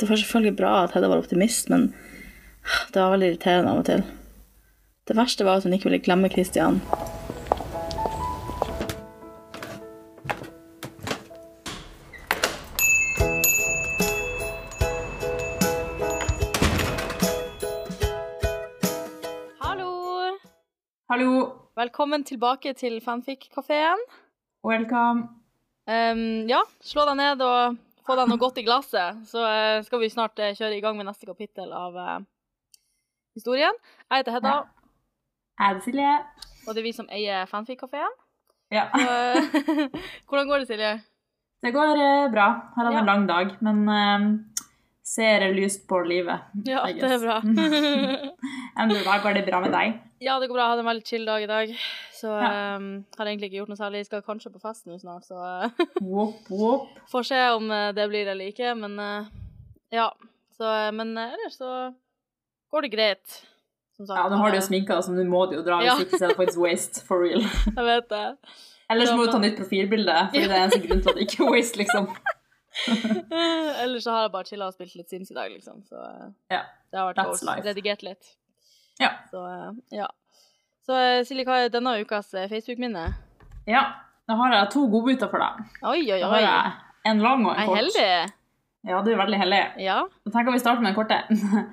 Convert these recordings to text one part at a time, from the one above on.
Det var selvfølgelig bra at Hedda var optimist, men det var veldig irriterende av og til. Det verste var at hun ikke ville glemme Christian. Hallo! Hallo. Velkommen tilbake til Fanfic-kafeen. Welcome. Ehm, ja, slå deg ned og få deg noe godt i glasset, så eh, skal vi snart eh, kjøre i gang med neste kapittel av eh, historien. Jeg heter Hedda, Er det Silje? og det er vi som eier Fanfic-kafeen. Ja. Så, eh, Hvordan går det, Silje? Det går eh, bra. Har hatt Ja. en lang dag, men eh, ser lyst på livet. Ja, I det er guess. bra. Enn du, da? Går det bra med deg? ja, det går bra. Jeg hadde en veldig chill dag i dag, så Ja. ehm, har egentlig ikke gjort noe særlig. Skal kanskje på fest nå snart, så eh, Whoop, whoop. får se om eh, det blir eller ikke, men eh, ja. Så, eh, men eh, ellers så går det greit. Som sagt, Ja, nå har du eh, jo sminka deg, så nå må du jo dra. Ja. Hvis ikke så er det faktisk waste, for real. Jeg vet det. Ellers Ja, må du ta men- nytt profilbilde, for det er eneste grunn til at det ikke er waste, liksom. Ellers så har jeg bare chilla og spilt litt Sims i dag, liksom. Så eh, Ja, det har vært that's godt. life. Redigert litt. Ja. Så eh, ja. Så eh, Silje, hva er denne ukas eh, Facebook-minne? Ja. Da har jeg to godbiter for deg. Oi, oi, Da oi. har jeg en lang og Jeg en er kort. heldig. Ja, du er veldig heldig. Ja. Da tenker vi starter med den korte.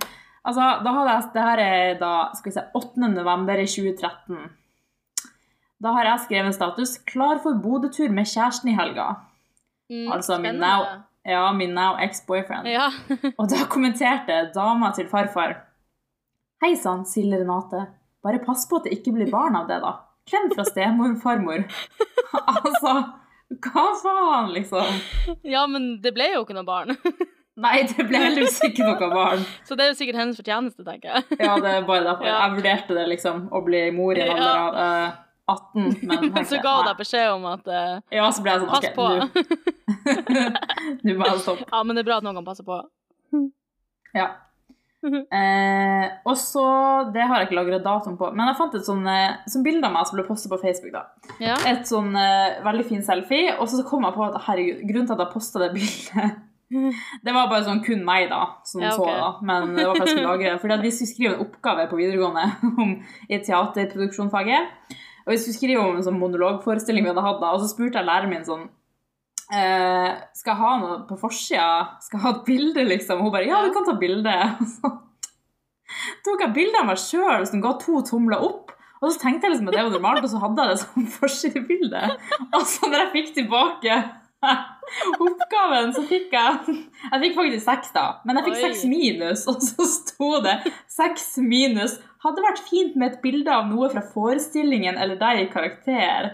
altså, da hadde jeg, det her er da, skal vi se, 8. november i 2013. Da har jeg skrevet status 'Klar for Bodø-tur med kjæresten i helga'. Mm, Altså min spennende. now, ja, min now ex-boyfriend. Ja. Og da kommenterte dama til farfar. Hei sann, Silje Renate. Bare pass på at det ikke blir barn av det, da. Klem fra stemor og farmor. altså, hva faen, liksom? ja, men det ble jo ikke noe barn. Nei, det ble heldigvis ikke noe barn. Så det er jo sikkert hennes fortjeneste, tenker jeg. Ja, det er bare derfor. Ja. Jeg vurderte det liksom, å bli mor i en alder av eh, 18, men Men tenkte så jeg, ga hun nei. deg beskjed om at eh, Ja, så ble jeg sånn, pass ok, på. nå- nå må jeg stoppe. ja, men det er bra at noen kan passe på. Ja. Mhm. Eh, og så, det har jeg ikke lagret datoen på, men jeg fant et sånn, eh, sånn bilde av meg som ble postet på Facebook da. Ja. Et sånn eh, veldig fin selfie, og så kom jeg på at, herregud, grunnen til at jeg postet det bildet, det var bare sånn kun meg da, som Ja, ok. så da, men det var faktisk lagret, fordi at vi skulle skrive en oppgave på videregående om, i teaterproduksjonfaget, Og vi skulle skrive om en sånn monologforestilling vi hadde hatt da, og så spurte jeg læreren min sånn eh, Skal jeg ha noe på forsida? Skal jeg ha et bilde, liksom? Og hun bare Ja, du kan ta bilde. Og så tok jeg bilde av meg sjøl som ga to tomler opp. Og så tenkte jeg liksom at det var normalt, og så hadde jeg det som forsidebilde. Og så når jeg fikk tilbake oppgaven, så fikk jeg Jeg fikk faktisk seks, da. Men jeg fikk Oi. seks minus, og så sto det seks minus. Hadde vært fint med et bilde av noe fra forestillingen eller deg i karakter.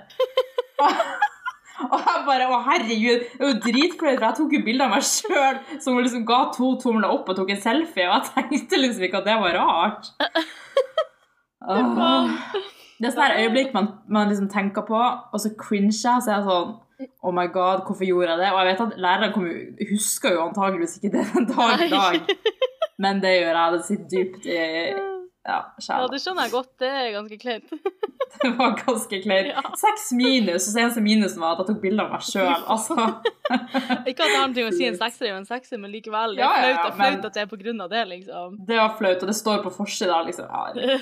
Og jeg bare Å, herregud, det er jo dritflaut, for jeg tok jo bilde av meg sjøl som liksom ga to tomler opp og tok en selfie, og jeg tenkte liksom ikke at det var rart. Åh. Det er sånne her øyeblikk man, man liksom tenker på, og så cringer jeg, og så er jeg sånn Oh my god, hvorfor gjorde jeg det? Og jeg vet at læreren kommer, jo- husker jo antageligvis ikke det den dag i dag, men det gjør jeg. Det sitter dypt i ja, Ja, sjela. det skjønner jeg godt. Det er ganske kleint. Det var ganske kleint. Ja. Seks minus, og så eneste minusen var at jeg tok bilde av meg sjøl. Altså. Ikke at det har noe å si en sekser er jo en sekser, men likevel. Det Ja, er flaut, det ja, ja, er flaut men- at det er på grunn av det, liksom. Det var flaut, og det står på forsida, liksom. Ja,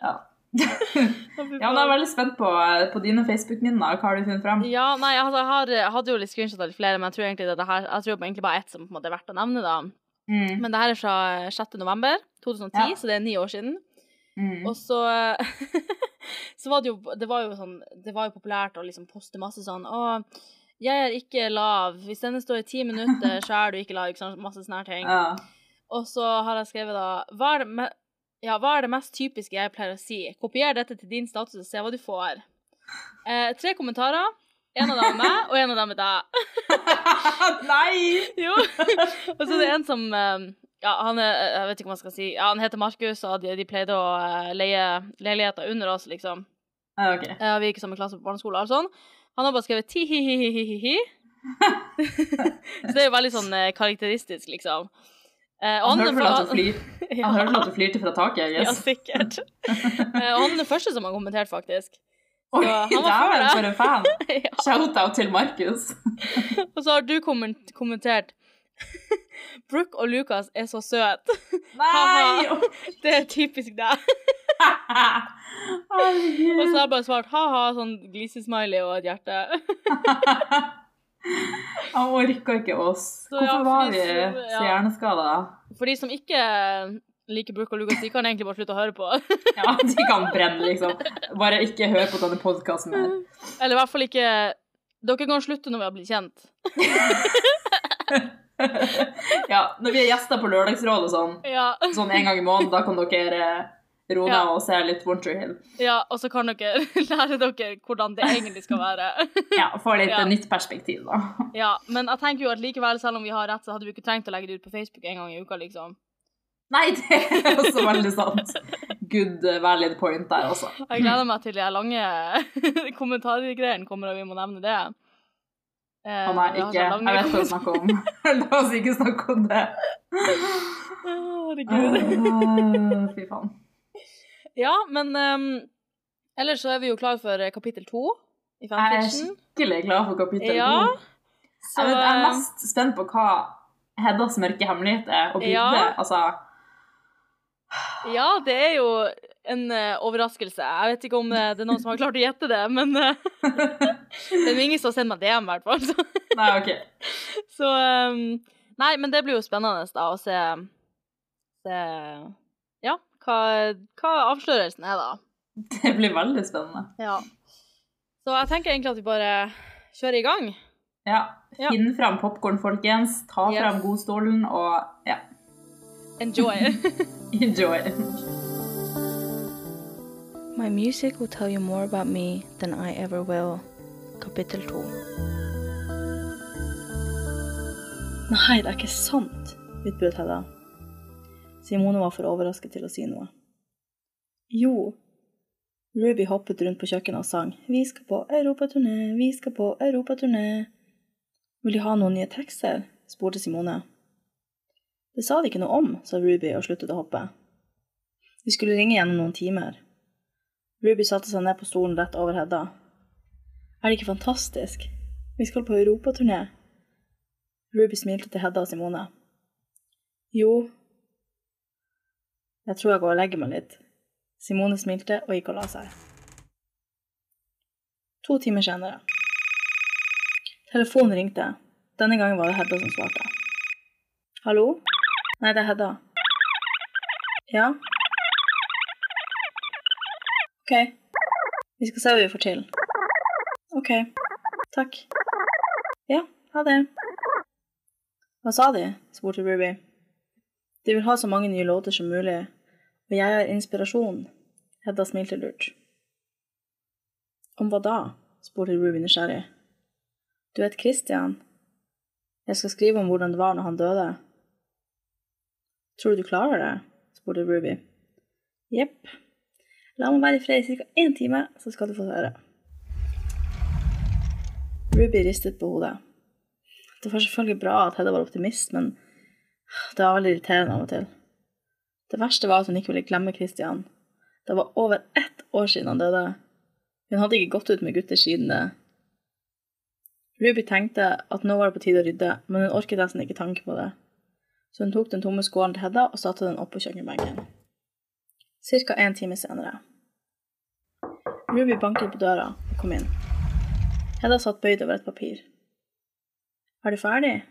ja. ja, men jeg er veldig spent på, eh, på dine Facebook-minner. Hva har du funnet fram? ja, nei, altså, jeg, har, jeg hadde jo litt screenshot av litt flere, men jeg tror egentlig dette her Jeg tror egentlig bare ett som på en måte er verdt å nevne, da. Mm, Men det her er fra 6. november 2010, Ja. så det er ni år siden. mm. Og så Så var det jo Det var jo sånn Det var jo populært å liksom poste masse sånn Å, jeg er ikke lav. Hvis denne står i ti minutter, så er du ikke lav. Ikke sant? Masse sånne her ting. Ja. Og så har jeg skrevet da hva er, det me ja, hva er det mest typiske jeg pleier å si? Kopier dette til din status og se hva du får. Eh, tre kommentarer. En av dem er meg, og en av dem er deg. Nei! Jo. Og så er det en som eh, ja, han er, Jeg vet ikke hva man skal si. Ja, han heter Markus, og de, de pleide å eh, leie leiligheter under oss, liksom. Ja, ok. Eh, og vi gikk i samme klasse på barneskole og alt sånn. Han har bare skrevet ti-hi-hi-hi-hi. så det er jo veldig sånn eh, karakteristisk, liksom. Eh, og Han er hørte vel fra- at du flirte Ja. Han hørte vel at du flirte fra taket? Ja, Yes. sikkert. Eh, Og han er den første som har kommentert, faktisk. Oi, han var dæven, før for en fan! Ja. Shout-out til Markus. Og så har du komment kommentert Brooke og Lucas er så søte. Nei! Det er typisk deg. Og så Herregud. har jeg bare svart ha-ha, sånn glisesmiley og et hjerte. Han orka ikke oss. Så ja, Hvorfor var fordi vi så- så ja. hjerneskada? For de som ikke eh, liker Brooke og Lucas, de kan egentlig bare slutte å høre på. Ja, de kan brenne, liksom. Bare ikke hør på denne podkasten her. Eller i hvert fall ikke Dere kan slutte når vi har blitt kjent. Ja, når vi er gjester på Lørdagsrådet og sånn, Ja, sånn en gang i måneden, da kan dere eh, roe Ja. ned og se litt Wonter Hill. ja Og så kan dere lære dere hvordan det egentlig skal være. Ja, få litt Ja. eh, nytt perspektiv, da. Ja, Men jeg tenker jo at likevel, selv om vi har rett, så hadde vi ikke trengt å legge det ut på Facebook en gang i uka, liksom. Nei, det er også veldig sant. Good eh, valid point der, altså. Jeg gleder meg til de her lange kommentargreiene kommer, og vi må nevne det. Eh, Å nei, vi har ikke. så Jeg lange vet hva du snakker om. La oss ikke snakke om det. kommentarer. Herregud. Ah. Ah, Åh, Fy faen. Ja, men ehm, ellers så er vi jo klar for eh, kapittel to i Jeg er fanfiction. skikkelig glad for kapittel to. Ja, Jeg vet, jeg er eh, mest spent på hva Heddas mørke hemmelighet er å bygge. Ja. Altså, eh, Ja, det er jo en eh, overraskelse. Jeg vet ikke om eh, det er noen som har klart å gjette det, men eh, det er jo ingen som har sendt meg DM, i hvert fall. Så, nei, ok. så ehm, Nei, men det blir jo spennende da, å se, se Ja, hva, hva avslørelsen er, da. Det blir veldig spennende. Ja. Så jeg tenker egentlig at vi bare kjører i gang. Ja. Ja. Finn fram popkorn, folkens. Ta Yes. fram godstolen og ja, Enjoy. enjoy. My music will tell you more about me than I ever will. Kapittel 2. Nei, det er ikke sant, utbrøt Hedda. Simone var for overrasket til å si noe. Jo. Ruby hoppet rundt på kjøkkenet og sang Vi skal på europaturné, vi skal på europaturné. Vil de ha noen nye tekster? spurte Simone. Det sa de ikke noe om, sa Ruby og sluttet å hoppe. De skulle ringe igjen om noen timer. Ruby satte seg ned på stolen rett over Hedda. Er det ikke fantastisk? Vi skal på europaturné. Ruby smilte til Hedda og Simone. Jo Jeg tror jeg går og legger meg litt. Simone smilte og gikk og la seg. To timer senere. Telefonen ringte. Denne gangen var det Hedda som svarte. Hallo? Nei, det er Hedda. Ja? Ok. Vi skal se hva vi får til. Ok. Takk. Ja, ha det. Hva sa de? spurte Ruby. De vil ha så mange nye låter som mulig, og jeg er inspirasjon. Hedda smilte lurt. Om hva da? spurte Ruby nysgjerrig. Du vet Christian? Jeg skal skrive om hvordan det var når han døde. Tror du du klarer det? spurte Ruby. Jepp. La meg være i fred i ca. én time, så skal du få høre. Ruby ristet på hodet. Det var selvfølgelig bra at Hedda var optimist, men det var veldig irriterende av og til. Det verste var at hun ikke ville glemme Christian. Det var over ett år siden han døde. Hun hadde ikke gått ut med gutter siden det. Ruby tenkte at nå var det på tide å rydde, men hun orket nesten ikke tanke på det. Så hun tok den tomme skålen til Hedda og satte den opp på kjøkkenbenken. Cirka en time senere. Ruby banket på døra og kom inn. Hedda satt bøyd over et papir. Er du ferdig?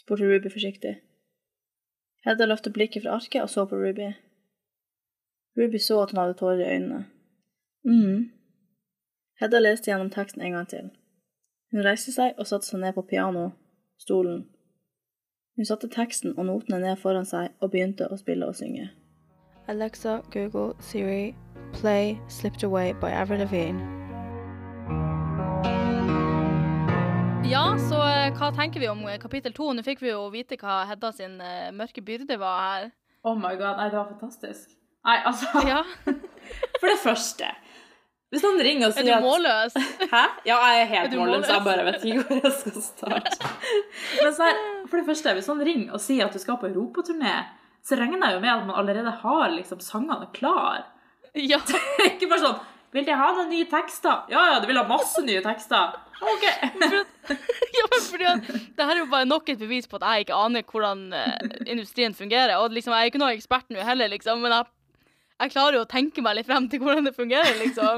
spurte Ruby forsiktig. Hedda løftet blikket fra arket og så på Ruby. Ruby så at hun hadde tårer i øynene. mm. Hedda leste gjennom teksten en gang til. Hun reiste seg og satte seg ned på pianostolen. Hun satte teksten og notene ned foran seg og begynte å spille og synge. Alexa, Google, Siri, play Slipped Away by Avril Lavigne. Ja, så eh, hva tenker vi om eh, kapittel to? Nå fikk vi jo vite hva Hedda sin eh, mørke byrde var her. Oh my god, nei, det var fantastisk. Nei, altså Ja, For det første Hvis noen ringer og Er du sier at målløs? Hæ? Ja, jeg er helt Er du målløs. Jeg målløs? bare vet ikke hvor jeg skal starte. Men så her, for det første, hvis noen ringer og sier at du skal på europaturné, så regner jeg jo med at man allerede har liksom sangene klar. Ja. Ikke bare sånn 'Vil de ha noen nye tekster?' 'Ja, ja, de vil ha masse nye tekster.' Ok. Ja, men fordi at Det her er jo bare nok et bevis på at jeg ikke aner hvordan eh, industrien fungerer. Og liksom, jeg er ikke noen ekspert nå heller, liksom, men jeg, jeg klarer jo å tenke meg litt frem til hvordan det fungerer. liksom.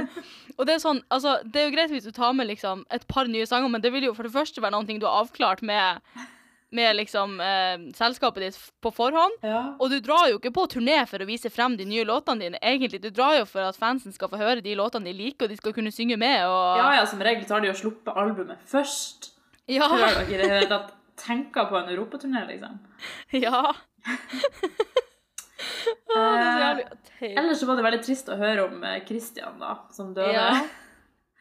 Og Det er sånn, altså, det er jo greit hvis du tar med liksom, et par nye sanger, men det vil jo for det første være noe du har avklart med, med liksom, eh, selskapet ditt på forhånd. Ja. Og du drar jo ikke på turné for å vise frem de nye låtene dine. egentlig. Du drar jo for at fansen skal få høre de låtene de liker, og de skal kunne synge med. og... ja, ja, som regel så har de jo sluppet albumet først. Før Ja. dere i det hele tatt tenker på en europaturné, liksom. Ja. Å, det er så jævlig teit. Eh, Ellers så var det veldig trist å høre om eh, Christian, da, som døde. Ja.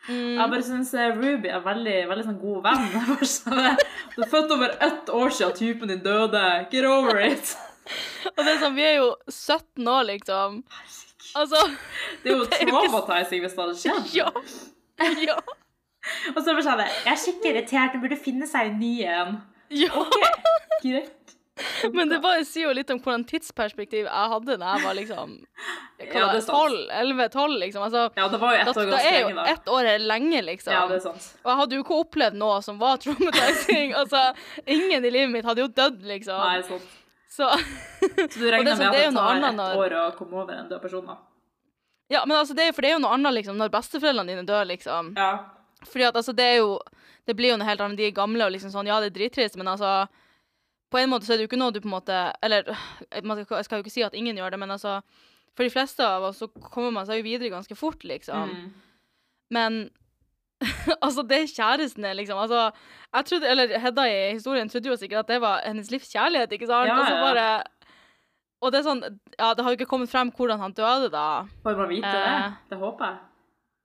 Jeg Mm. bare syns Ruby er en veldig, veldig sånn god venn. Jeg bare skjønner det. Du er født over ett år siden typen din døde. Get over it! Og det er sånn, vi er jo 17 år, liksom. Altså Det er jo er jo ikke- traumatizing hvis det hadde skjedd. Ja. Ja. Og så bare sånn Jeg er skikkelig irritert. Hun burde finne seg en ny en. ja. Greit. Men det bare sier jo litt om hvordan tidsperspektiv jeg hadde da jeg var liksom Ja, det er sant. 11-12, liksom. Altså, Ja, det var jo da, ett år da ganske er jo lenge, da. ett år er lenge, liksom. Ja, det er sant. Og jeg hadde jo ikke opplevd noe som var traumatizing. altså, ingen i livet mitt hadde jo dødd, liksom. Nei, sant. Så Så du Og det regner er med sånn, at det er det jo noe tar annet ett når- år å komme over en død person, da? Ja, men altså, det er, jo- for det er jo noe annet liksom, når besteforeldrene dine dør, liksom. Ja. Fordi at altså, det er jo Det blir jo noe helt annet. De er gamle og liksom sånn Ja, det er drittrist, men altså På en måte så er det jo ikke noe du på en måte Eller øh, man skal, jeg skal jo ikke si at ingen gjør det, men altså For de fleste av oss så kommer man seg jo videre ganske fort, liksom. Mm. Men altså, det er kjæresten er, liksom. Altså, jeg trodde, eller Hedda i historien trodde jo sikkert at det var hennes livs kjærlighet, ikke sant? Ja, Og så ja. bare Og det er sånn Ja, det har jo ikke kommet frem hvordan han døde, da. Får man vite det? Eh. Det håper jeg.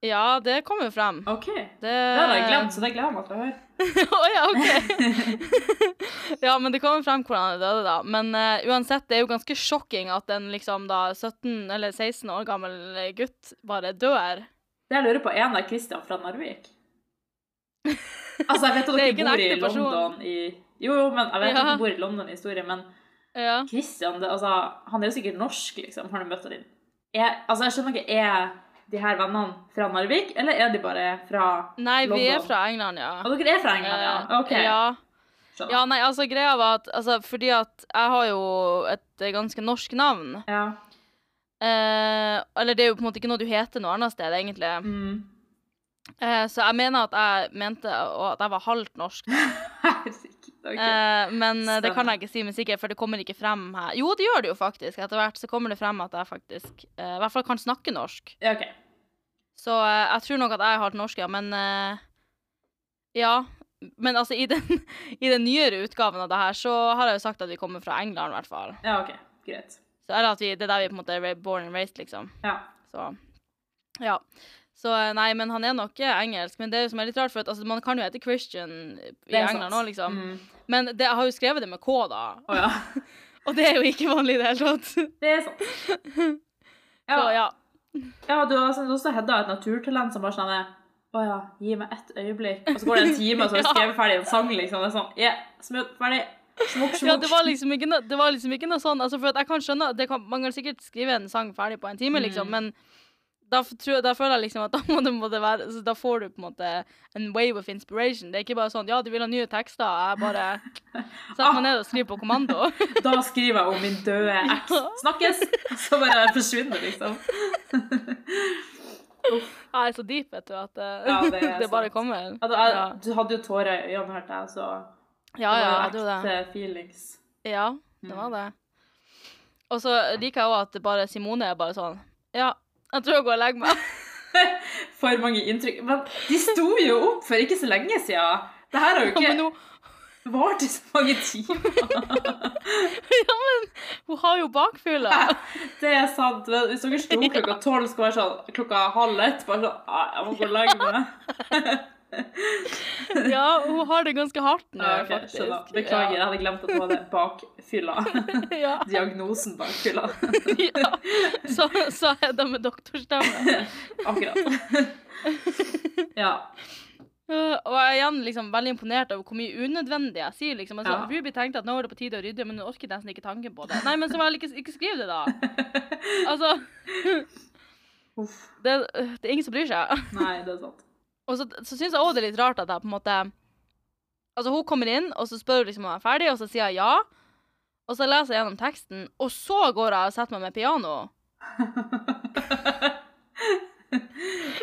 Ja, det kommer jo frem. OK. Det Det har Eh. jeg glemt, så det gleder jeg meg til å høre. Å ja, OK. ja, men det kommer frem hvordan han døde, da. Men eh, uansett, det er jo ganske sjokking at en liksom da 17 eller 16 år gammel gutt bare dør. Det jeg lurer på, er han der Christian fra Narvik? Altså, jeg vet at Det er dere ikke en bor i ekte person. London i Jo, jo, men jeg vet at Ja. dere bor i London i historie, men Ja. Christian, det, altså, han er jo sikkert norsk, liksom. Har du møtt ham? Jeg, altså, jeg skjønner ikke, er de her vennene fra Narvik, eller er de bare fra Nei, vi er London. fra England, ja. Og dere er fra England, ja? OK. Eh, Ja. Skjønner. Ja, nei, altså greia var at altså, Fordi at jeg har jo et eh, ganske norsk navn. Ja. Eh, eller det er jo på en måte ikke noe du heter noe annet sted, egentlig. Mm. Eh, så jeg mener at jeg mente å- at jeg var halvt norsk. Herregud. ok. Eh, men eh, det Spennende. kan jeg ikke si med sikkerhet, for det kommer ikke frem her. Jo, det gjør det jo faktisk. Etter hvert så kommer det frem at jeg faktisk eh, i hvert fall kan snakke norsk. Ja, OK. Så eh, jeg tror nok at jeg er halvt norsk, ja. Men eh, ja. Men altså, i den, i den nyere utgaven av det her, så har jeg jo sagt at vi kommer fra England, i hvert fall. Ja, ok. Greit. Så, eller at vi, det er der vi på en måte er born and raised, liksom. Ja. Så ja. Så eh, nei, men han er nok eh, engelsk. Men det er jo som er litt rart, for at altså, man kan jo hete Christian i Det er England sant. òg, liksom. Mm. Men det, jeg har jo skrevet det med K, da. Å ja. Og det er jo ikke vanlig i det hele tatt. Det er sant. Så ja. Ja, du har sendt også Hedda et naturtalent som bare sånn er, Å ja, gi meg ett øyeblikk. Og så går det en time, og så har jeg Ja. skrevet ferdig en sang, liksom. Det er sånn Ja, smooth, ferdig. Smokk, smokk. Ja, det var liksom ikke noe, det var liksom ikke noe sånn altså, For at jeg kan skjønne at det kan, Man kan sikkert skrive en sang ferdig på en time, liksom, Mm. men da, f- tror, jeg- da føler jeg liksom at da må det, må det være altså, Da får du på en måte en wave of inspiration. Det er ikke bare sånn Ja, du vil ha nye tekster. Jeg bare setter Ah. meg ned og skriver på kommando. Da skriver jeg om min døde eks. Ja. Snakkes! Så bare forsvinner, liksom. Jeg er så deep, vet du, at eh, Ja, det det, er bare sant. kommer. Ja, da, jeg, ja, du hadde jo tårer i øynene, hørte jeg, så ja, ja, jeg det Mm. tror var det. jo ekte feelings. Ja, det var det. Og så liker jeg òg at bare Simone er bare sånn Ja, jeg tror jeg går og legger meg. For mange inntrykk. Men de sto jo opp for ikke så lenge siden. Det her har jo Men ikke hun, vart i så mange timer. ja, men hun har jo bakfylla. Det er sant. men Hvis dere sto opp klokka tolv, skulle være sånn klokka halv ett bare sånn, «Nei, Jeg må gå og legge meg. Ja, hun har det ganske hardt nå, Ja, ok, faktisk. skjønner. Beklager, jeg hadde glemt at det var det bakfylla. Ja, Diagnosen bakfylla. ja, ja. Så sa jeg det med doktorstemme. Akkurat. Ja. Uh, Og jeg er igjen liksom veldig imponert over hvor mye unødvendig jeg sier. liksom. Altså, Ja. Ruby tenkte at nå er det på tide å rydde, men hun orket nesten ikke tanken på det. Nei, men så vel, ikke, ikke skriv det, da. Altså Uff. Det, det er ingen som bryr seg. Nei, det er sant. Og så, så syns jeg òg det er litt rart at jeg på en måte Altså, hun kommer inn, og så spør hun liksom om jeg er ferdig, og så sier jeg ja. Og så leser jeg gjennom teksten, og så går jeg og setter meg med piano.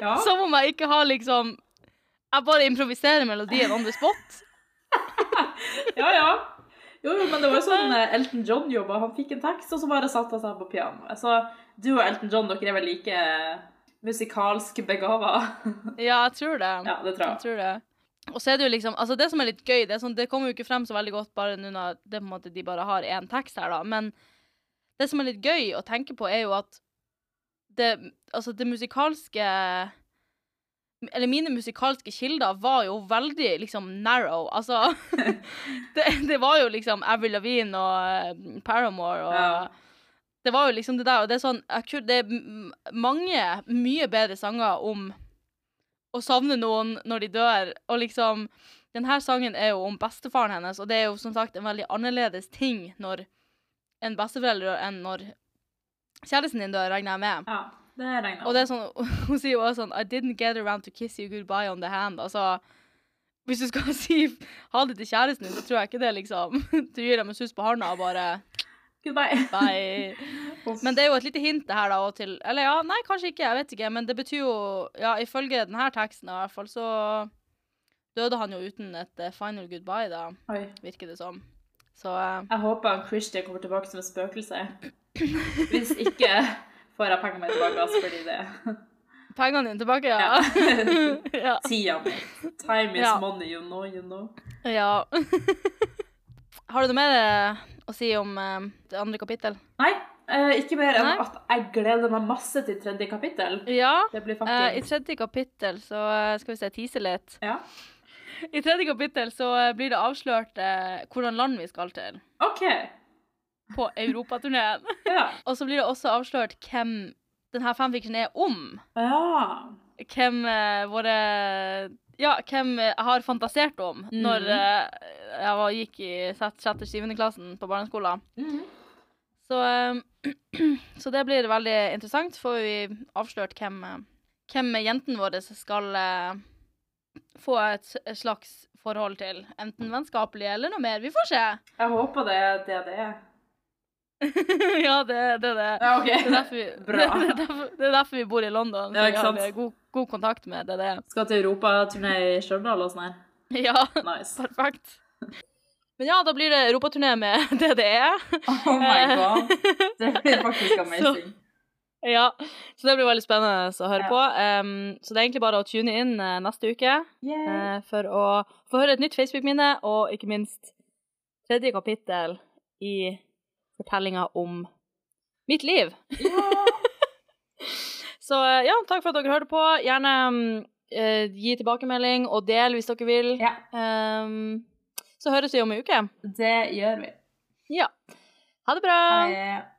ja. Som om jeg ikke har liksom Jeg bare improviserer melodien on the spot. ja, ja. Jo, jo, men det var jo sånn eh, Elton John jobba. Han fikk en tekst, og så bare satte han seg på pianoet. Så du og Elton John, dere er vel like musikalsk begava? Ja, jeg tror det. ja, det Jeg tror jeg. tror det. Og så er det jo liksom Altså, det som er litt gøy, det, er sånn, det kommer jo ikke frem så veldig godt bare nå når det på en måte de bare har én tekst her, da, men det som er litt gøy å tenke på, er jo at det Altså, det musikalske eller mine musikalske kilder var jo veldig liksom narrow. Altså Det, det var jo liksom Avril Lavigne og eh, Paramore og Ja. Det var jo liksom det der. Og det er sånn jeg, kunne- Det er m- mange mye bedre sanger om å savne noen når de dør, og liksom Denne sangen er jo om bestefaren hennes, og det er jo som sagt en veldig annerledes ting når en besteforelder dør enn når kjæresten din dør, regner jeg med. Ja, det regner jeg Og det er sånn, hun sier jo også sånn I didn't get around to kiss you goodbye on the hand. Altså, hvis du skal si ha det til kjæresten din, så tror jeg ikke det, liksom. Du gir dem en suss på handa og bare Goodbye. bye. Uff. Men det er jo et lite hint det her, da, og til Eller ja, nei, kanskje ikke, jeg vet ikke. Men det betyr jo Ja, ifølge denne teksten i hvert fall, så døde han jo uten et eh, final goodbye, da, Oi. virker det som. Så eh, Jeg håper han Christian kommer tilbake som et spøkelse. Hvis ikke får jeg pengene mine tilbake, altså, fordi det pengene dine tilbake, ja. ja. Tida mi. Time is Ja. money, you know, you know. Ja. Har du noe mer eh, å si om eh, det andre kapittel? Nei, eh, ikke mer enn Nei. at jeg gleder meg masse til tredje kapittel. Ja. Det blir eh, I faktisk tredje kapittel så eh, Skal vi se, tise litt. Ja. I tredje kapittel så eh, blir det avslørt eh, hvordan land vi skal til OK. på europaturneen. Ja. Og så blir det også avslørt hvem denne fanfiction er om. ja. Hvem eh, våre Ja, hvem eh, jeg har fantasert om Mhm. når eh, jeg var, gikk i 6.-7. klassen på barneskolen. Mhm. Så, eh, så det blir veldig interessant. Får vi avslørt hvem, eh, hvem jentene våre skal eh, få et s- et slags forhold til. Enten vennskapelig eller noe mer. Vi får se. Jeg håper det er det det er. ja, det er det. det. Ja, OK. Det er, derfor vi, Bra. det, det, er derfor, det er derfor vi bor i London, så Ja, vi ikke har sant? eh, god, god kontakt med det. det. Skal til europaturné i Stjørdal og sånn her. Ja, Nice. perfekt. Men ja, da blir det europaturné med E. DDE. Oh Eh. my god. Det blir faktisk amazing. Ja, så det blir veldig spennende å høre Ja. på. Em, så det er egentlig bare å tune inn eh, neste uke Yay. eh, for å få høre et nytt Facebook-minne, og ikke minst tredje kapittel i fortellinga om mitt liv. Ja. Så eh, ja, takk for at dere hørte på. Gjerne mm, eh, gi tilbakemelding og del hvis dere vil. Ja. Ehm, så høres vi om en uke. Det gjør vi. Eh, Ja. Ha det bra! Hei.